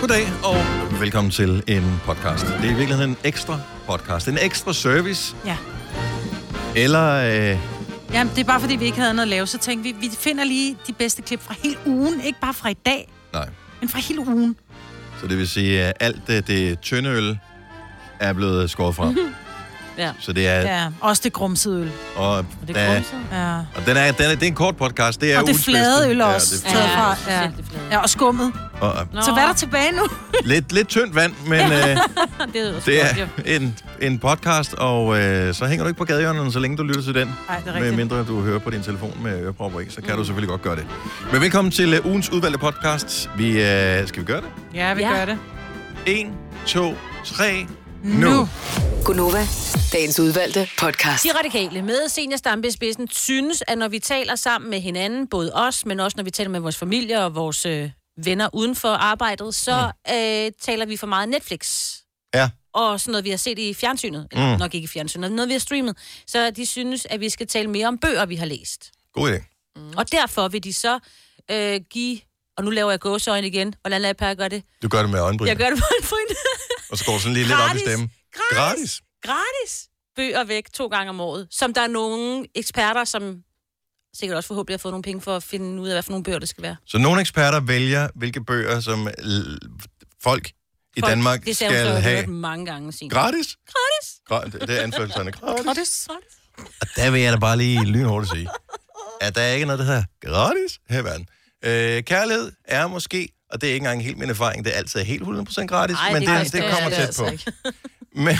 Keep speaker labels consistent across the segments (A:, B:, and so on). A: Goddag og velkommen til en podcast. Det er i virkeligheden en ekstra podcast, en ekstra service,
B: Ja.
A: eller øh,
B: Jamen, det er bare fordi, vi ikke havde noget at lave, så tænkte vi, vi finder lige de bedste klip fra hele ugen. Ikke bare fra i dag,
A: nej.
B: men fra hele ugen.
A: Så det vil sige, at alt det, det tynde øl er blevet skåret fra.
B: Ja.
A: Så det er...
B: ja. Også det grumsede øl.
A: Og,
B: Og det
A: der-
B: grumsede? Ja.
A: og den er, den er, det er en kort podcast. Det er
B: og det
A: ugens
B: flade
A: bedste.
B: øl er også
A: Ja, det er
B: taget
A: flade.
B: fra. Ja. ja, og skummet.
A: Og, og,
B: Så hvad er der tilbage nu?
A: lidt, lidt tyndt vand, men øh,
C: det er også
A: det
C: godt,
A: er
C: jo.
A: en, en podcast, og øh, så hænger du ikke på gadehjørnerne, så længe du lytter til den.
B: Nej, det er
A: Med
B: rigtigt.
A: mindre du hører på din telefon med ørepropper i, så kan du
C: Mm.
A: selvfølgelig godt gøre det. Men velkommen til øh, ugens udvalgte podcast. Vi, øh, skal vi gøre det?
B: Ja, vi
C: Ja.
B: gør det.
A: 1, 2, 3, nu.
B: Nu.
A: nu.
D: Gunova, dagens udvalgte podcast.
C: De radikale med senior stampe i spidsen synes, at når vi taler sammen med hinanden, både os, men også når vi taler med vores familie og vores øh, venner uden for arbejdet, så
A: Mm.
C: øh, taler vi for meget Netflix.
A: Ja.
C: Og sådan noget, vi har set i fjernsynet. Eller
A: Mm.
C: nok ikke i fjernsynet, men noget, vi har streamet. Så de synes, at vi skal tale mere om bøger, vi har læst.
A: God idé.
C: Mm. Og derfor vil de så øh, give... Og nu laver jeg gåseøjne igen. Hvordan lader jeg Per gøre det?
A: Du gør det med øjenbryn,
C: Jeg gør det på en point.
A: og så går du sådan lige lidt op i stemmen.
C: Gratis.
A: Gratis.
C: Gratis. gratis bøger væk to gange om året, som der er nogle eksperter, som sikkert også forhåbentlig har fået nogle penge for at finde ud af, hvad for nogle bøger det skal være.
A: Så nogle eksperter vælger, hvilke bøger, som l- folk i
C: Folk-
A: Danmark
C: det sagde hun så,
A: skal
C: jeg har
A: have.
C: hørt mange gange sin.
A: Gratis?
C: Gratis.
A: Gratis. Det er anførselserne. Gratis.
C: Gratis.
A: Der vil jeg da bare lige lynhurtigt sige, at der er ikke noget, der hedder gratis her i verden. Øh, kærlighed er måske, og det er ikke engang helt min erfaring, det er altid helt 100% gratis,
C: Ej,
A: men det, det,
C: det er faktisk-
A: det kommer
C: det altså
A: tæt
C: er
A: på. Men,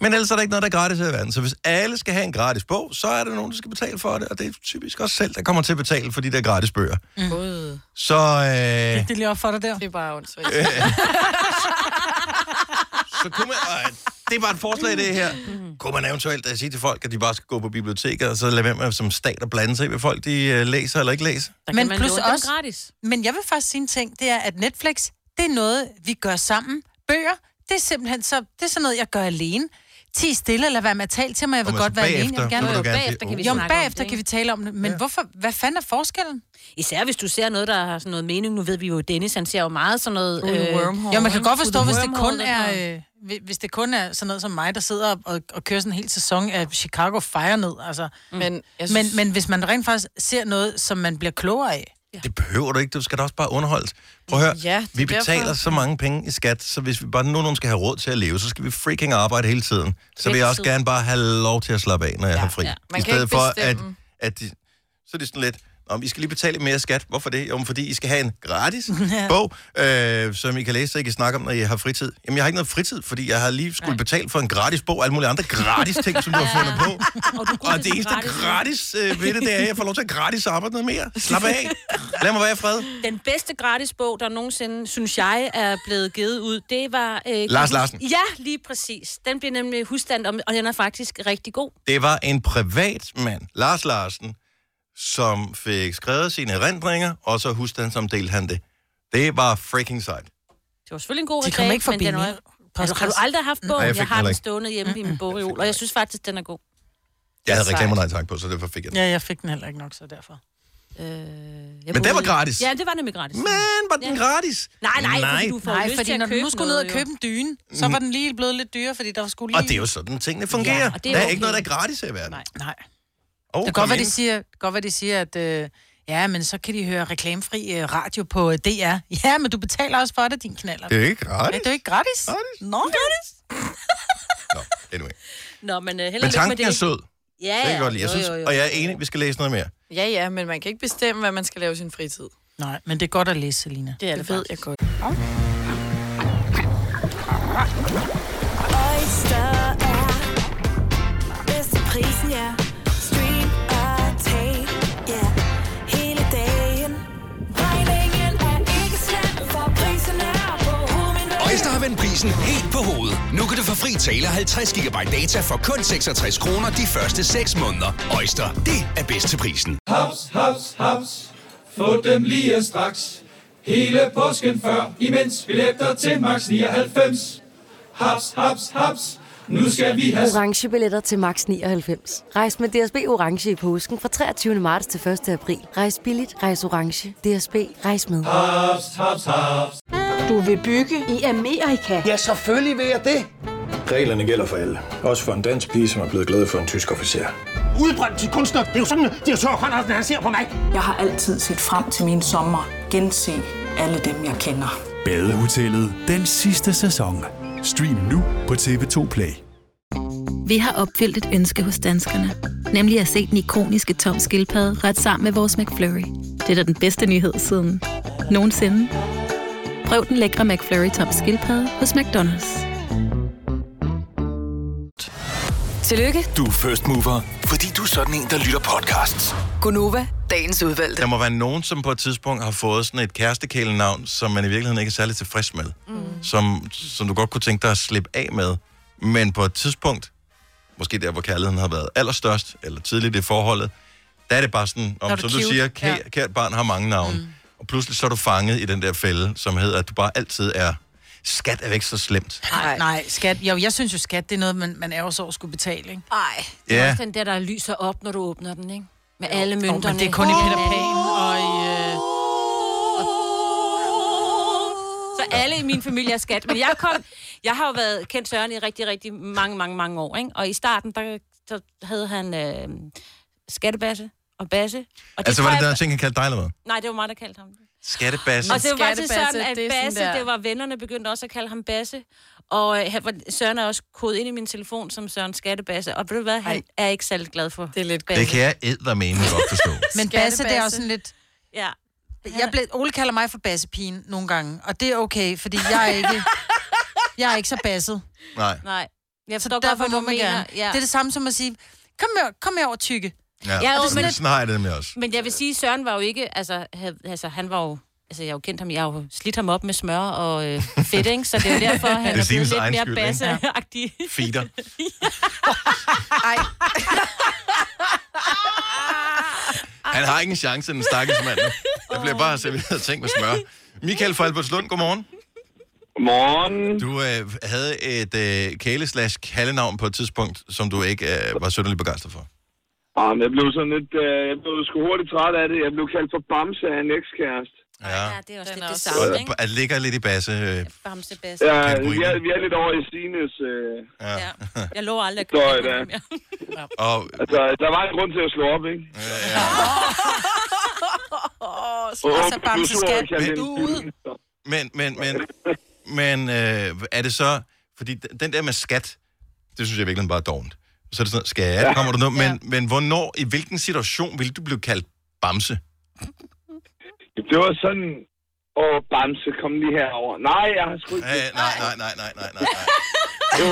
A: men ellers er der ikke noget, der er gratis her i verden. Så hvis alle skal have en gratis bog, så er der nogen, der skal betale for det, og det er typisk også selv, der kommer til at betale for de der gratis bøger.
C: Mm.
E: God.
A: Så, øh,
B: Det er lige op for dig der.
E: Det er bare ondt.
A: så kunne man... Øh, det er bare et forslag, det her. Kunne man eventuelt øh, sige til folk, at de bare skal gå på biblioteket, og så lade være med som stat at blande sig i, hvad folk de øh, læser eller ikke læser?
C: Der
B: Men
C: kan man
B: plus
C: låne dem
B: også-
C: gratis.
B: Men jeg vil faktisk sige en ting, det er, at Netflix, det er noget, vi gør sammen. Bøger, det er simpelthen så, det er sådan noget, jeg gør alene. Ti stille, eller være med at tale til mig, jeg vil
A: Og man
B: godt
A: så
B: være alene. Jeg vil
A: bagefter,
B: gerne
A: så
B: være
A: vil du gerne sige, "Uh,
B: Jo,
C: Jo, bagefter kan vi snakker
B: men
C: om
B: bagefter
C: det, ikke?
B: kan vi tale om det, men
A: Ja.
B: ja. hvorfor, hvad fanden er forskellen?
C: Især hvis du ser noget, der har sådan noget mening. Nu ved vi jo, at Dennis, han ser jo meget sådan noget... øh,
B: Oh, jo, man kan godt forstå,
C: Ud i
B: hvis det kun
C: wormhole,
B: er, øh, hvi- hvis det kun er sådan noget som mig, der sidder og- og, og kører sådan en hel sæson af Chicago Fire ned. Altså.
E: Men, jeg
B: Men,
E: synes, men,
B: men hvis man rent faktisk ser noget, som man bliver klogere af,
A: Det behøver du ikke, du skal da også bare underholdes. Prøv at høre,
E: Ja, det er
A: vi betaler
E: derfor.
A: så mange penge i skat, så hvis vi bare nu nogen skal have råd til at leve, så skal vi freaking arbejde hele tiden. Så vil jeg også
C: Altid.
A: gerne bare have lov til at slappe af, når jeg har fri.
C: ja.
A: I
E: Man kan
A: stedet
E: ikke
A: for, at,
E: bestemme.
A: at de, så er det sådan lidt, om I skal lige betale lidt mere skat. Hvorfor det? Jo, men fordi I skal have en gratis bog, øh, som I kan læse, så I kan snakke om, når I har fritid. Jamen, jeg har ikke noget fritid, fordi jeg har lige skulle betale for en gratis bog, og alle mulige andre gratis ting, som du har fundet på.
C: Og, du
A: Og det eneste gratis øh, ved det, det er, at jeg får lov til at gratis arbejde noget mere. Slap af. Lad mig være i fred.
C: Den bedste gratis bog, der nogensinde, synes jeg, er blevet givet ud, det var... Øh,
A: Lars Larsen.
C: Ja, lige præcis. Den blev nemlig husstand, om, og den er faktisk rigtig god.
A: Det var en privatmand, Lars Larsen, som fik skrevet sine erindringer, og så husstandsomdelte han det. Det var freaking sejt.
C: Det var selvfølgelig en god
B: de
C: reklame,
B: kommer ikke forbi
C: men
B: min
C: den er, altså, har du
B: postkasse.
C: aldrig haft bogen?
A: jeg
C: jeg,
A: fik den
C: har
A: heller
C: den
A: ikke.
C: stående hjemme i min bogreol, og jeg synes faktisk, den er god.
A: Jeg havde
E: Sejt.
A: reklamer, nej tak på, så derfor fik jeg den.
B: Ja, jeg fik den heller ikke nok, så derfor.
C: Øh, jeg
A: den
C: boede
A: var
C: i-
A: gratis.
C: Ja, det var nemlig gratis.
A: Men var den gratis?
C: Nej, nej, fordi du får
B: Nej,
C: lyst til
B: fordi
C: at
B: når du
C: købe
B: nu skulle ned og
C: noget,
B: købe en dyne, så var den lige blevet lidt dyrere, fordi der skulle lige...
A: Og det er jo sådan, tingene fungerer.
C: Ja, og det er
A: der er
C: okay.
A: ikke noget, der er gratis her i verden.
C: Nej.
B: Nej.
A: Oh,
B: Det kan godt være, de siger, det kan godt være, de siger at øh, ja, men så kan de høre reklamefri øh, radio på øh, DR. Ja, men du betaler også for det, din knaller.
A: Det er ikke
B: Ja,
A: gratis.
B: det er jo ikke gratis.
A: Gratis.
B: Nå, gratis.
A: Nå, anyway.
C: jo. Nå, men uh,
A: Men
C: heller ikke med
A: tanken
C: det.
A: er sød. Det
C: ja,
A: kan jeg godt lide. Jeg
C: jo,
A: synes,
C: jo, jo.
A: og jeg er enig, vi skal læse noget mere.
E: ja, ja, men man kan ikke bestemme, hvad man skal lave i sin fritid.
B: Nej, men det er godt at læse, Selina.
C: Det er det
E: Det ved jeg godt.
F: Oyster er bedst til prisen, ja. Stream og tag, ja. Hele dagen. Regningen er ikke slem, for prisen er på hovedet.
G: Øjster har vendt prisen helt på hovedet. Nu kan du få fri tale og 50 GB data for kun 66 kroner de første 6 måneder. Øjster, det er bedst til prisen.
H: Haps, haps, haps. Få dem lige straks. Hele påsken før, imens billetter til max 99. Haps, haps, haps. Nu skal vi have...
I: Orange billetter til max 99. Rejs med DSB Orange i påsken fra 23. marts til 1. april. Rejs billigt, rejs orange. DSB, rejs med.
H: Haps, haps, haps.
J: Du vil bygge i Amerika? Ja, selvfølgelig vil jeg det.
K: Reglerne gælder for alle. Også for en dansk pige, som er blevet glad for en tysk officer.
J: Udbrøndt til kunstner. Det er jo sådan, at de har han ser på mig. Jeg har altid set frem til min sommer. Gense alle dem, jeg kender.
L: Badehotellet den sidste sæson. Stream nu på TV2 Play.
M: Vi har opfyldt et ønske hos danskerne. Nemlig at se den ikoniske tom skildpadde ret sammen med vores McFlurry. Det er da den bedste nyhed siden nogensinde. Prøv den lækre McFlurry tom skildpadde hos McDonald's.
D: Tillykke,
G: Du er first mover, fordi du er sådan en, der lytter podcasts.
D: Gunova, dagens udvalgte.
A: Der må være nogen, som på et tidspunkt har fået sådan et kærestekælenavn, som man i virkeligheden ikke er særlig tilfreds med. Mm. Som, som du godt kunne tænke dig at slippe af med. Men på et tidspunkt, måske der, hvor kærligheden har været allerstørst, eller tidligt i forholdet, der er det bare sådan,
N: Der er
A: om,
N: du
A: som du
N: cute,
A: siger,
N: ja.
A: kæ- kært barn har mange navne. Mm. Og pludselig så er du fanget i den der fælde, som hedder, at du bare altid er... Skat er ikke så slemt.
B: Nej, nej, skat. Jo, jeg synes jo, skat, det er noget, man, man er også over at skulle betale, ikke?
C: Nej. Det er
A: Ja.
C: også den der, der lyser op, når du åbner den, ikke? Med alle
B: Jo,
C: mønterne.
B: men det er kun i Peter Pan og i... Øh...
C: Så alle i min familie er skat. Men jeg kom... Jeg har jo været kendt Søren i rigtig, rigtig mange, mange, mange år, ikke? Og i starten, der, der havde han øh, skattebasse og basse. Og
A: Altså, var
C: tror
A: det
C: jeg-
A: der ting, han kaldte dig eller hvad?
C: Nej, det var mig, der kaldte ham det.
A: Skattebassen.
C: Og det var faktisk
E: Altså, Skattebasse,
C: sådan, at
E: det er sådan
C: Basse,
E: der-
C: det var vennerne, begyndte også at kalde ham Basse. Og øh, han var- Søren er også kodet ind i min telefon som Søren Skattebasse. Og ved du hvad, han er ikke særlig glad for
E: Det er lidt
A: Det kan jeg eddermene godt forstå.
B: Men Basse, det er også sådan lidt...
C: Ja.
B: Jeg ble... Ole kalder mig for bassepigen nogle gange, og det er okay, fordi jeg er ikke, jeg er ikke så basset.
A: Nej.
C: Nej. Jeg
B: så
C: forstår godt,
B: derfor
C: hvad
B: må
C: du
B: man
C: mener.
B: gerne.
C: Ja.
B: Det er det samme som at sige, kom her, kom her over tykke.
A: Ja,
C: Ja,
A: ja
C: jo,
A: og Altså, sådan,
C: men-
A: sådan har jeg det med også.
C: Men jeg vil sige, Søren var jo ikke, altså, hav, altså han var jo, altså jeg har jo kendt ham, jeg har jo slidt ham op med smør og øh, fedt, ikke? Så det er jo derfor,
A: Det er
C: han er,
A: Signes
C: blevet lidt
A: egen
C: mere
A: skyld, ikke?
C: basseagtig.
A: Feeder.
E: Ej.
A: Han har ikke en chance, den stakkels mand. Der bliver bare serveret ting med smør. Michael fra Albertslund, godmorgen. Godmorgen. Du øh, havde et øh, kæle slash kaldenavn på et tidspunkt, som du ikke øh, var sønderlig begejstret for.
O: Ah, men jeg blev sådan lidt, øh, jeg blev sgu hurtigt træt af det. Jeg blev kaldt for Bamse af en ekskæreste.
A: Ja,
C: det er også lidt det
A: Og, og, og ligger lidt i basse. Øh,
C: Bamse Basse.
O: Ja,
A: Kategorien.
O: vi er, vi er lidt over i Sines. Øh,
A: ja.
C: Jeg lover aldrig at
O: Døj,
C: kalde
O: da.
C: ham mere.
A: Og,
O: altså, der var en grund til at slå op, ikke?
B: Altså, Bamse skat.
A: Men- Men, men, men, men øh, er det så... Fordi d- den der med skat, det synes jeg virkelig bare er dovent. Så er det sådan, skat,
O: Ja.
A: kommer du nu? Men, men hvornår, i hvilken situation ville du blive kaldt bamse?
O: Det var sådan, åh, Bamse, kom lige herover. Nej, jeg har sgu ikke...
A: Øh, Nej, Øh. nej, nej, nej, nej, nej, nej. Oh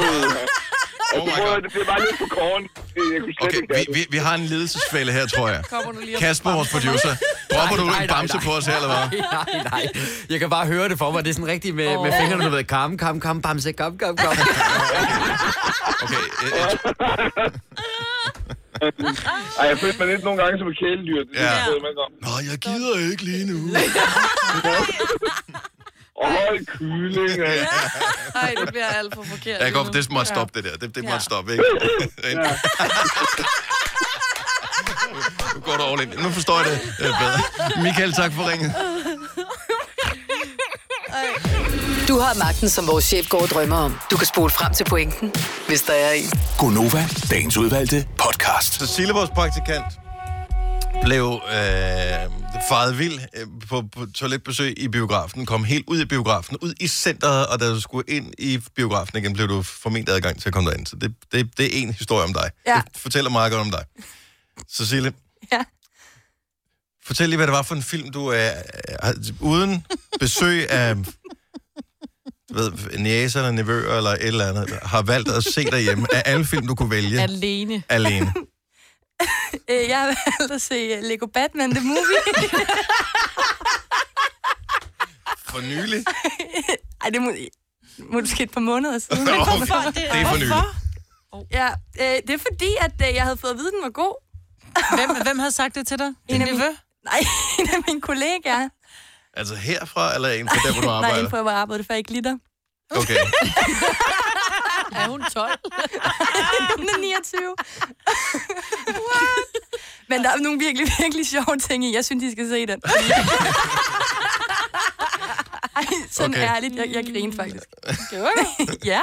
O: Jo, jeg prøvede, det blev bare lidt for korn. Jeg kunne slet
A: Okay,
O: ikke
A: vi, vi, vi har en ledelsesfælde her, tror jeg.
O: Kommer du lige og-
A: Kasper, vores producer, dropper du en bamse på os her, eller hvad?
P: Nej, nej, nej. Jeg kan bare høre det for mig. Det er sådan rigtigt med, oh. med
A: Åh.
P: fingrene, du ved. Kom, kom, kom, bamse, kom, kom, kom.
A: Okay, øh,
O: Ej, jeg følte mig lidt nogle gange som et kæledyr. Det
A: Ja.
O: ja. man kom.
A: Nå, jeg gider ikke lige nu.
O: Og hold kylling, altså. ja.
E: Ej, det bliver alt for forkert.
A: Jeg går,
E: lige nu.
A: det må stoppe, det der. Det, det må stoppe, ikke? Nu går du all in. Nu forstår jeg det øh, bedre. Michael, tak for ringet.
D: Du har magten, som vores chef går og drømmer om. Du kan spole frem til pointen, hvis der er en.
G: Gonova, dagens udvalgte podcast.
A: Så Sille, vores praktikant, blev øh, faret vild øh, på, på toiletbesøg i biografen, kom helt ud i biografen, ud i centret, og da du skulle ind i biografen igen, blev du formentlig adgang til at komme derind. Så det, det, det er en historie om dig.
Q: Ja.
A: Det fortæller meget godt om dig. Cecilie,
Q: Ja.
A: fortæl lige, hvad det var for en film, du er øh, uden besøg af du ved, næser eller nevøer eller et eller andet, har valgt at se derhjemme af alle film, du kunne vælge.
J: Alene.
A: Alene.
J: Øh, Jeg har valgt at se øh, Lego Batman The Movie.
A: For nylig?
J: Ej, det er må, måske et par måneder siden.
A: Nå, okay. Det er for nylig.
J: Ja, øh, det er fordi, at øh, jeg havde fået at vide, at den var god.
B: Hvem, hvem havde sagt det til dig?
J: En af mine, nej, en af mine kollegaer.
A: Altså herfra, eller en fra der, hvor du
J: Nej,
A: arbejder?
J: en på at arbejde, for jeg ikke litter.
A: Okay.
J: Er hun 12? hun er 29. Men der er nogle virkelig, virkelig sjove ting i. Jeg synes, I skal se den.
R: Ej, sådan
A: Okay.
R: okay. ærligt. Jeg, jeg griner faktisk. ja,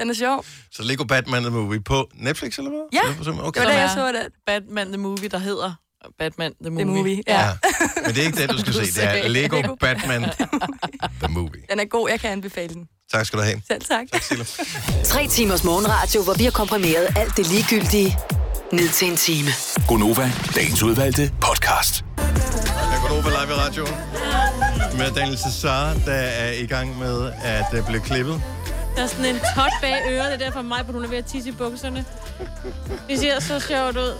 R: den er sjov.
A: Så Lego Batman The Movie på Netflix, eller hvad?
R: Ja,
A: Eller på simpelthen-
R: det var da jeg
A: Ja.
R: så det.
S: Batman The Movie, der hedder Batman The Movie.
R: movie, ja.
A: Men det er ikke det, du skal se. Det er Lego Batman.
R: Den er god, jeg kan anbefale den.
A: Tak skal du have.
R: Selv tak.
T: Tre timers morgenradio, hvor vi har komprimeret alt det ligegyldige ned til en time.
U: Gonova, dagens udvalgte podcast.
A: Jeg går over live i radioen med Daniel Cesar, der er i gang med at øh, blive klippet.
C: Der er sådan en tot bag øret, det er derfor mig, hun er ved at tisse i bukserne. Det ser så sjovt ud.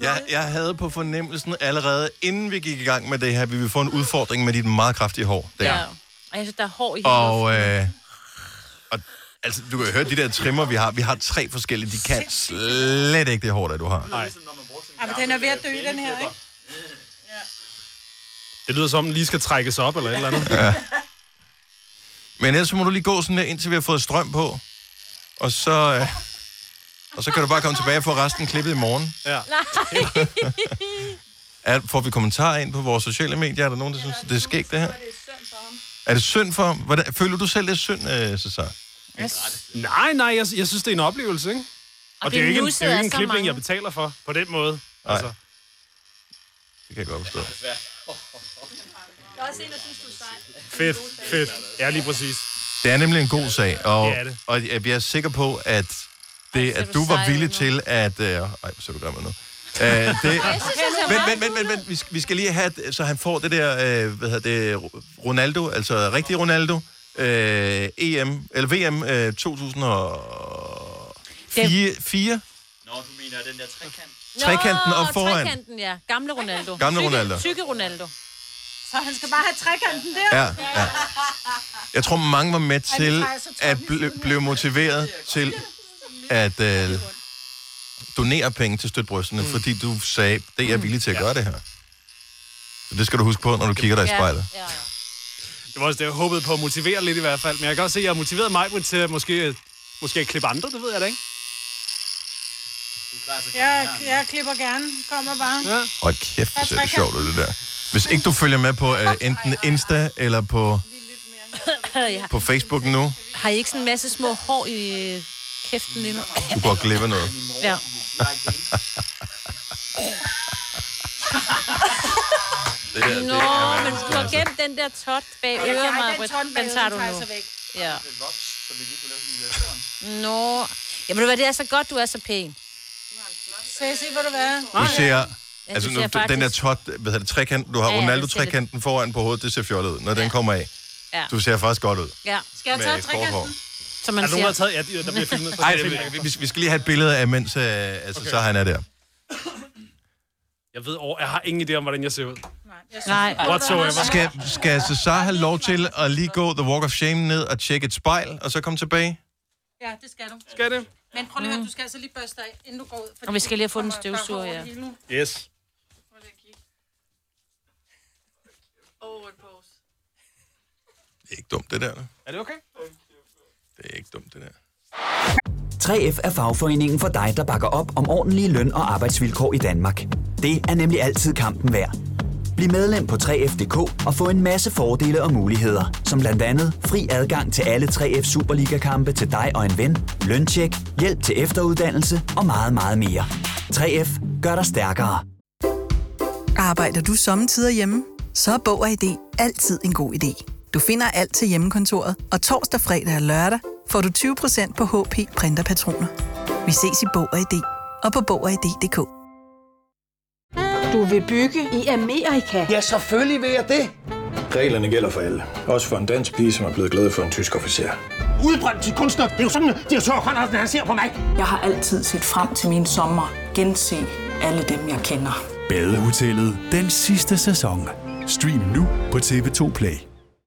A: Jeg, jeg havde på fornemmelsen allerede, inden vi gik i gang med det her, vi ville få en udfordring med dit meget kraftige hår. Der. Ja.
C: Og jeg synes, der er hår i hele luften.
A: Og, øh, og altså, du kan jo høre de der trimmer, vi har. Vi har tre forskellige. De kan slet ikke det hår, der du har. Nej.
B: Ja, men den er ved at dø, den her, ikke?
Q: Det lyder som, den lige skal trækkes op eller et eller andet.
A: Ja. Men ellers så må du lige gå sådan der, indtil vi har fået strøm på. Og så, øh, og så kan du bare komme tilbage og få resten klippet i morgen.
Q: Ja.
A: Er, får vi kommentarer ind på vores sociale medier? Er der nogen, der synes, det er skægt, det her? Er det synd for ham? Hvordan, føler du selv, det er synd, øh, Cesar?
Q: Nej, nej, jeg, jeg synes, det er en oplevelse, ikke? Og,
A: Og
Q: og det er jo
A: det
Q: ikke en, det
A: nussede
Q: er jo ikke
A: er
Q: en
A: så
Q: klipling,
A: mange.
Q: jeg betaler for, på den måde.
A: Nej.
Q: Altså.
A: Det kan jeg godt forstå.
R: Der er også en, der synes, du er sej.
Q: Fedt, fedt. Ja, lige præcis.
A: Det er nemlig en god sag, og,
Q: Det er det.
A: og jeg jeg er sikker på, at det, at du var villig til at... Øh, ej, hvor ser du gammel nu. Æh, det, men, men, men, men, men, vi skal- vi skal lige have, at- så han får det der, øh, hvad hedder det, Ro- Ronaldo, altså rigtig Ronaldo, øh, EM, eller VM øh, 2004, 4,
V: Nå, du mener den der trekant?
A: trekanten op foran.
C: trekanten, ja. Gamle Ronaldo.
A: Gamle
C: Tykke-
A: Ronaldo.
C: Tykke Ronaldo.
B: Så han skal bare have trekanten der.
A: Ja, ja. Jeg tror, mange var med til at bl- blive motiveret til at øh, donere penge til støtbrystene, mm. fordi du sagde, det er jeg villig til at gøre det her. Så det skal du huske på, når du kigger dig i
Q: Ja.
A: spejlet.
Q: Det var også det, jeg håbede på at motivere lidt i hvert fald. Men jeg kan også se, at jeg har motiveret mig til at måske, måske at klippe andre, det ved jeg da ikke.
B: Jeg, jeg klipper gerne. Kommer bare.
Q: Ja.
A: Hold kæft, hvor ser det sjovt ud, det der. Hvis ikke du følger med på øh, enten Insta eller på,
C: ja.
A: på Facebook nu,
C: Har I ikke sådan en masse små hår i øh, kæften lige nu?
A: du går glip af noget.
C: Ja.
A: Det der, det
C: Nå,
A: er
C: men du har
A: vanskeligt, altså.
C: gemt den der tot bag
B: Ja,
C: øret,
B: den
C: Marvitt.
B: tot bag
C: Den tager
B: øret, den tager
C: du nu.
B: jeg så væk.
C: Ja. Nå. Jamen, ved du hvad, det er så godt, du er så pæn.
B: Så jeg se, hvor du er.
A: Ah, Du ser...
C: Ja,
A: Altså,
C: du
A: nu,
C: ser
A: den
C: faktisk-
A: der tot, hvad hedder det, trekant, du har
C: Ja, ja, det ser lidt-
A: Ronaldo-trekanten foran på hovedet, det ser fjollet ud, når den kommer af.
C: Ja.
A: Du ser faktisk godt ud.
C: ja. Skal jeg
A: Med
C: tage
A: et kort hår.
C: trekanten? Som man
Q: er der nogen, der
C: siger.
Q: har taget? Ja, de- der bliver filmet.
A: Nej, vi, vi, vi skal lige have et billede af, mens øh, altså, okay. så han er der.
Q: Jeg ved over, jeg har ingen idé om, hvordan jeg ser ud.
C: Nej.
Q: Whatsoever.
A: Skal, skal Cesar have lov til at lige gå The Walk of Shame ned og tjekke et spejl, og så komme tilbage?
B: Ja, det skal du.
Q: Skal det?
B: Men prøv lige at høre, du skal altså lige børste dig, af, inden du går ud. fordi
C: Mm. Og vi skal lige have fundet en
B: der kommer- der
C: støvsuger,
B: kommer
C: ja.
B: hår i nu.
Q: Yes.
R: Åh, en pose.
A: Det er ikke dumt, det der.
Q: Er det okay?
A: Det er ikke dumt, det der.
G: 3F er fagforeningen for dig, der bakker op om ordentlige løn- og arbejdsvilkår i Danmark. Det er nemlig altid kampen værd. Bliv medlem på 3F.dk og få en masse fordele og muligheder, som blandt andet fri adgang til alle 3F Superliga-kampe til dig og en ven, løntjek, hjælp til efteruddannelse og meget, meget mere. 3F gør dig stærkere.
O: Arbejder du sommetider hjemme? Så er Bog og ID altid en god idé. Du finder alt til hjemmekontoret, og torsdag, fredag og lørdag får du 20% på HP printerpatroner. Vi ses i Bog og ID og på Bog og ID.dk.
W: Du vil bygge i Amerika? Ja, selvfølgelig vil jeg det.
X: Reglerne gælder for alle. Også for en dansk pige, som er blevet glad for en tysk officer.
F: Udbrøndt til kunstner. Det er jo sådan, at de har tørt, Conradsen, han ser på mig. Jeg har altid set frem til min sommer. Gense alle dem, jeg kender.
Y: Badehotellet den sidste sæson. Stream nu på TV2 Play.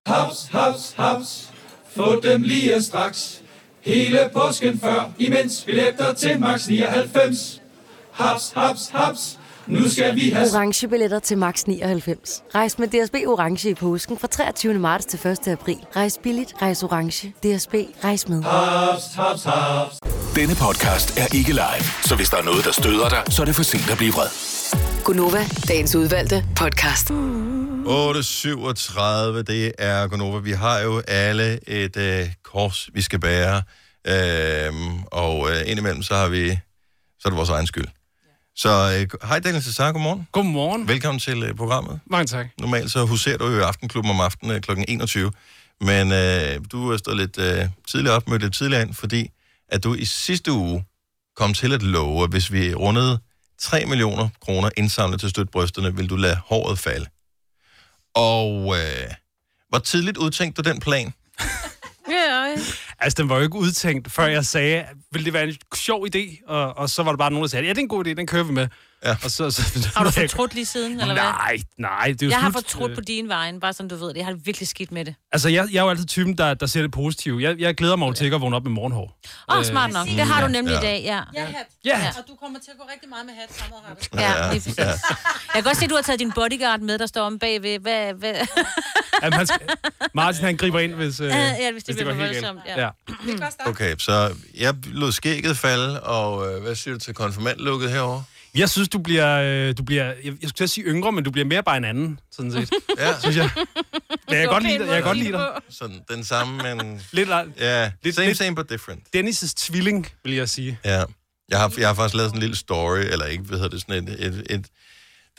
Z: Haps, haps, haps. Få dem lige straks. Hele påsken før, imens billetter til max 99. Haps, haps, haps. Nu skal vi have
D: Orange billetter til max 99. Rejs med DSB Orange i påsken fra 23. marts til 1. april. Rejs billigt, rejs orange. DSB, rejs med.
Z: Haps, haps, haps.
U: Denne podcast er ikke live, så hvis der er noget, der støder dig, så er det for sent at blive vred.
D: Gunova, dagens udvalgte podcast.
A: 8.37, det er Gonova. Vi har jo alle et øh, kors, vi skal bære. Øhm, og øh, indimellem, så har vi... Så er det vores egen skyld. Så øh, hej Daniel Cesar, godmorgen.
Q: Godmorgen.
A: Velkommen til øh, programmet.
Q: Mange tak.
A: Normalt så huserer du jo i Aftenklubben om aftenen øh, kl. 21. Men øh, du er stået lidt øh, tidligere op, mødt lidt tidligere ind, fordi at du i sidste uge kom til at love, at hvis vi rundede 3 millioner kroner indsamlet til støtbrysterne, ville du lade håret falde. Og øh, hvor tidligt udtænkte du den plan?
Q: Ja, Altså, den var jo ikke udtænkt, før jeg sagde, ville det være en sjov idé? Og, og så var der bare nogen, der sagde, ja, det er en god idé, den kører vi med. Ja. Og så, så,
C: Har du fortrudt lige siden, eller hvad?
Q: Nej, nej, det er jo
C: Jeg har
Q: slut.
C: fortrudt på din vejen, bare som du ved det. Jeg har virkelig skidt med det.
Q: Altså, jeg, jeg er jo altid typen, der, der ser det positive. Jeg, jeg glæder mig jo til at vågne op med morgenhår.
A: Øh,
C: Åh, oh, smart nok. Det har du nemlig
Q: ja.
C: i dag, ja.
B: Ja, hat.
C: Ja.
B: Og du kommer til at gå rigtig meget med hat fremadrettet.
C: Ja, lige præcis. Jeg kan godt se, at du har taget din bodyguard med, der står om bagved. Hvad, hvad?
Q: Jamen, han skal, Martin, han griber ind, hvis, øh,
C: Ja, hvis det bliver
Q: går
C: for
Q: helt galt.
C: voldsomt, ja.
A: Okay, så jeg lod skægget falde, og øh, hvad siger du til konfirmandlukket herover?
Q: Jeg synes, du bliver, øh, du bliver jeg, jeg skulle til at sige yngre, men du bliver mere bare en anden, sådan set.
A: Ja.
Q: Synes jeg. Men jeg kan godt lide dig. Jeg kan godt lide dig.
A: Sådan, den samme, men...
Q: Lidt,
A: ja,
Q: lidt-
A: same,
Q: lidt-
A: same, but different.
Q: Dennis' tvilling, vil jeg sige.
A: Ja. Jeg har, jeg har faktisk lavet sådan en lille story, eller ikke, hvad hedder det, sådan et, et, et,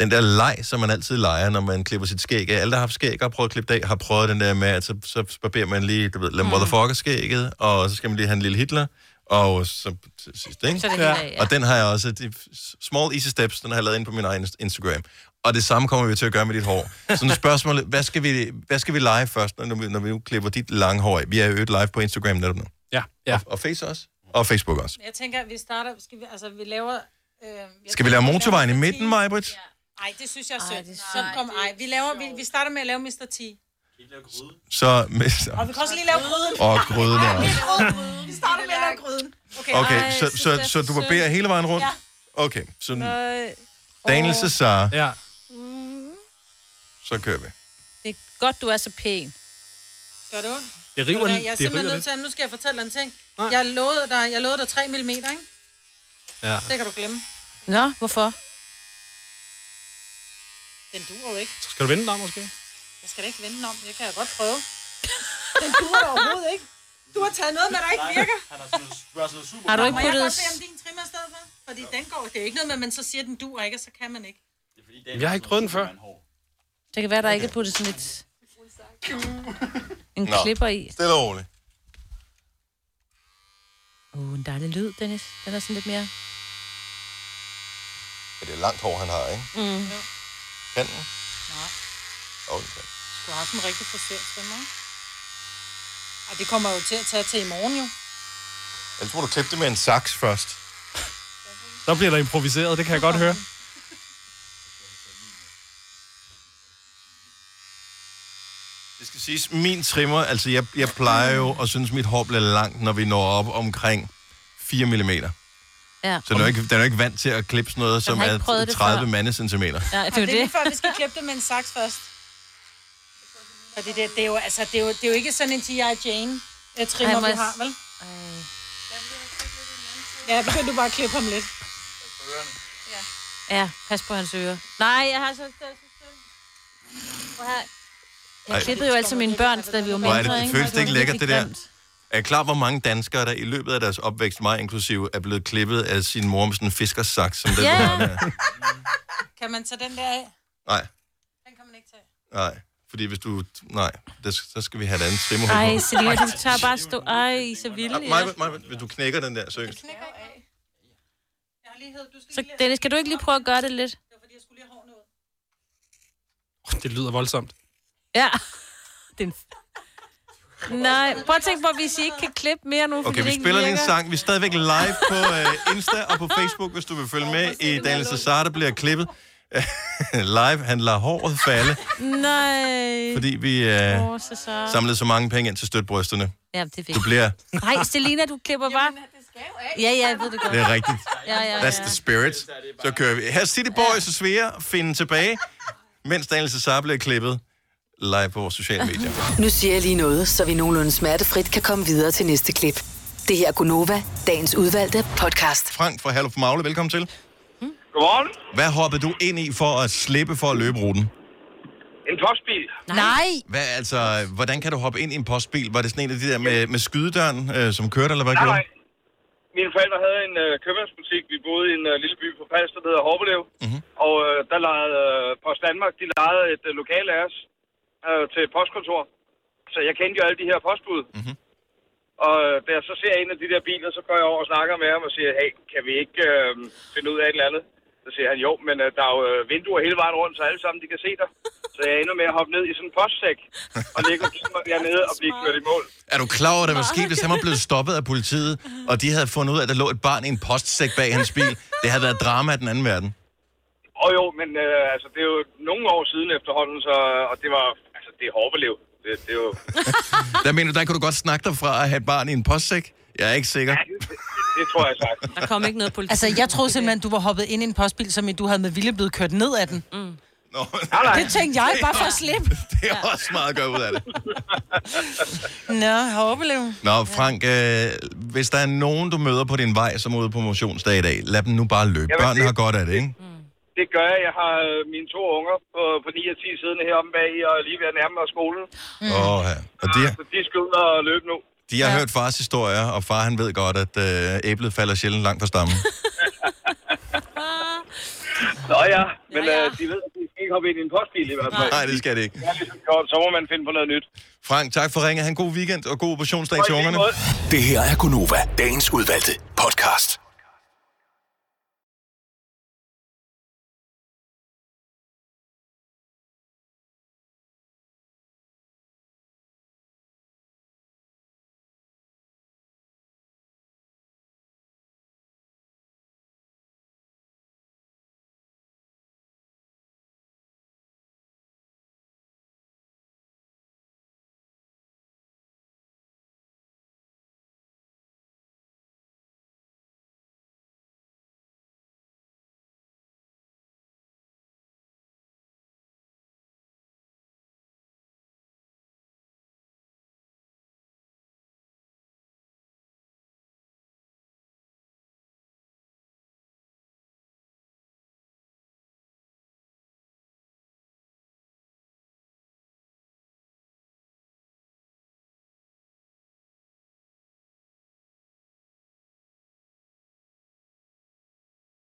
A: den der leg, som man altid leger, når man klipper sit skæg af. Alle, der har haft skæg og har prøvet at klippe det af, har prøvet den der med, at så, så barberer man lige, du ved,
F: Mm.
A: lad motherfucker skægget, og så skal man lige have en lille Hitler, og så til sidst, ikke?
F: Så er det hele af, ja.
A: Og den har jeg også, de small easy steps, den har jeg lavet ind på min egen Instagram. Og det samme kommer vi til at gøre med dit hår. Så nu er spørgsmålet, hvad skal vi, hvad skal vi lege først, når vi, når vi nu klipper dit lange hår af? Vi er jo øget live på Instagram netop nu.
Q: Ja, ja.
A: Og, og Face også. Og Facebook
Q: Mm.
A: også.
B: Jeg tænker, at vi starter... Skal vi, altså, vi laver... Øh, jeg
A: Skal vi lave motorvejen i midten, Majbrit?
B: Nej, det synes jeg er sødt. Så kom, ej. Vi, laver, vi, vi starter med at lave Mr. T.
A: Så med,
B: Og vi kan også lige lave gryden.
A: Og gryden
B: Ej,
A: også.
B: lidt gryden. Vi starter med at lave gryden.
A: okay, så, så, så, du barberer hele vejen rundt?
B: Ja.
A: Okay, så
C: Nej.
A: Daniel
C: Åh.
A: Cesar,
Q: ja.
A: så kører vi.
C: Det er godt, du er så pæn.
B: Gør det ondt?
Q: Det
B: Ved du hvad, Jeg er simpelthen nødt til, at- nu skal jeg fortælle dig en ting. Jeg lovede dig, jeg lovede dig 3 mm, ikke?
Q: Ja.
B: Det kan du glemme.
C: Nå, hvorfor?
B: Den duer jo ikke.
Q: Skal du vende dig, måske?
B: Jeg skal da ikke vende den om. Jeg kan jeg godt prøve. Den duer overhovedet ikke. Du har taget noget med, der ikke virker.
C: Har du ikke
B: Må jeg
C: puttet-
B: godt bede om din trimmer i stedet for? Fordi den går, det er ikke noget med, at man så siger, at den duer ikke, og så kan man ikke.
Q: Jeg har ikke prøvet den før.
C: Det kan være, der ikke er puttet sådan lidt... En
A: Nå.
C: klipper i.
A: Stille og roligt.
C: Uh, en dejlig lyd, Dennis. Den er sådan lidt mere...
A: Ja, Det er langt hår, han har, ikke?
C: Mm.
A: Kanten? Okay.
B: Du har sådan en rigtig frisørstemme, ikke? Og det kommer jo til at tage til i morgen, jo.
A: Ellers må du klippe det med en saks først.
Q: Der bliver der improviseret, det kan jeg godt høre.
A: Det skal siges, min trimmer, altså jeg, jeg plejer jo at synes, mit hår bliver langt, når vi når op omkring 4 mm.
C: Ja.
A: Så den er, jo ikke, den er jo ikke vant til at klippe sådan noget, som
B: har ikke prøvet
A: er
B: det
A: 30
B: før.
A: mandecentimeter.
C: Ja,
B: det er det. er lige før, vi skal klippe det med en saks først. Fordi det, det, er jo, altså, det, er jo, det er jo ikke sådan en T.I. Jane øh, trimmer,
C: Ej, må
B: vi
C: jeg
B: har,
C: s-
B: vel? Ja, begynd du bare at klippe ham lidt.
C: Ja, pas på hans ører. Nej, jeg har så... så- så- så- Prøv her.
A: Ej.
C: Jeg klippede jo altså mine børn, da vi var
A: Hvor
C: mindre,
A: er det, det
C: ikke?
A: føles det ikke
C: var
A: lækkert, det
C: virkelig
A: der?
C: grimt.
A: Er I klar, hvor mange danskere, der i løbet af deres opvækst, mig inklusive, er blevet klippet af sin mor med sådan en fiskersaks, som den
B: Ja.
A: du har der?
B: Kan man tage den der af?
A: Nej,
B: Den kan man ikke tage.
A: nej. Fordi hvis du... Nej, det, så skal vi have et andet trimmerhul.
C: Ej, Selina, du tager bare stå... Ej, så vildt.
A: Maja, Maja, hvis du knækker den der, seriøst.
C: Så Dennis, kan du ikke lige prøve at gøre det lidt?
Q: Det lyder voldsomt.
C: Ja. Den... Nej, prøv at tænke på, hvis I ikke kan klippe mere nu, fordi
A: Okay,
C: det
A: vi
C: ikke
A: spiller lige en
C: virker.
A: sang. Vi er stadigvæk live på øh, Insta og på Facebook, hvis du vil følge med i Daniel Cesar, der bliver klippet. live, han lader håret falde,
C: Nej.
A: fordi vi øh,
C: Åh, så så...
A: samlede så mange penge ind til støtbrysterne.
C: Ja, det er vigtigt.
A: Du bliver...
C: Nej, Selina, du klipper bare... Ja, ja, jeg ved det godt.
A: Det er rigtigt.
C: Ja, ja, ja.
A: That's the spirit. Så kører vi. Her er City Boys og Svea finde tilbage, mens Daniel Cesar bliver klippet live på vores sociale medier.
D: Nu siger jeg lige noget, så vi nogenlunde smertefrit kan komme videre til næste klip. Det her er Gunova, dagens udvalgte podcast.
A: Frank fra Herluf Magle, velkommen til.
O: Godmorgen.
A: Hvad hoppede du ind i for at slippe for at løbe ruten?
O: En postbil.
B: Nej.
A: Hvad, altså, hvordan kan du hoppe ind i en postbil? Var det sådan en af de der med, med skydedøren, øh, som kørte, eller hvad gjorde du?
O: Mine forældre havde en øh, købmandsbutik. Vi boede i en øh, lille by på Pals, der hedder Hårbelev. Mm-hmm. Og øh, der lejede øh, Post Danmark, de lejede et øh, lokale af os øh, til et postkontor. Så jeg kendte jo øh, alle de her postbud. Mm-hmm. Og øh, da jeg så ser en af de der biler, så går jeg over og snakker med ham og siger, hey, kan vi ikke øh, finde ud af et eller andet? Så siger han, jo, men øh, der er jo øh, vinduer hele vejen rundt, så alle sammen de kan se dig. Så jeg ender med at hoppe ned i sådan en postsæk og ligge og kigge mig dernede og blive kørt i mål.
A: Er du klar over, at det var sket, hvis han var blevet stoppet af politiet, og de havde fundet ud af, at der lå et barn i en postsæk bag hans bil? Det havde været drama af den anden verden.
O: Og jo, men øh, altså, det er jo nogle år siden efterhånden, så, og det var, altså, det er hårbelev. Det, det er jo,
A: Der mener du, der kunne du godt snakke dig fra at have et barn i en postsæk? Jeg er ikke sikker.
O: det tror jeg sagt.
C: Der kom ikke noget politi.
B: Altså, jeg troede simpelthen, du var hoppet ind i en postbil, som i du havde med vilje blevet kørt ned af den. Mm.
A: Nå,
B: Det tænkte jeg, bare for at slippe.
A: Det er også meget godt ud af det.
B: Nå, har overlevet.
A: Nå, Frank, øh, hvis der er nogen, du møder på din vej, som er ude på motionsdag i dag, lad dem nu bare løbe.
O: Jamen,
A: Børnene
O: det-
A: har godt af det, ikke?
O: Det gør jeg. Jeg har øh, mine to unger på, på 9 og 10 siddende heromme bag og lige ved at nærme mig skolen.
A: Mm. Åh, ja. Og de,
O: Så de skal ud og løbe nu.
A: de har hørt fars historier, og far han ved godt, at øh, æblet falder sjældent langt fra stammen.
O: Nå ja, men øh, de ved, at de skal ikke hoppe ind i en postbil i hvert fald.
A: Nej, det skal det ikke.
O: Ja, det er godt. Så må man finde på noget nyt.
A: Frank, tak for ringet. Han god weekend og god motionsdag til ungerne.
G: Det her er Gunova, dagens udvalgte podcast.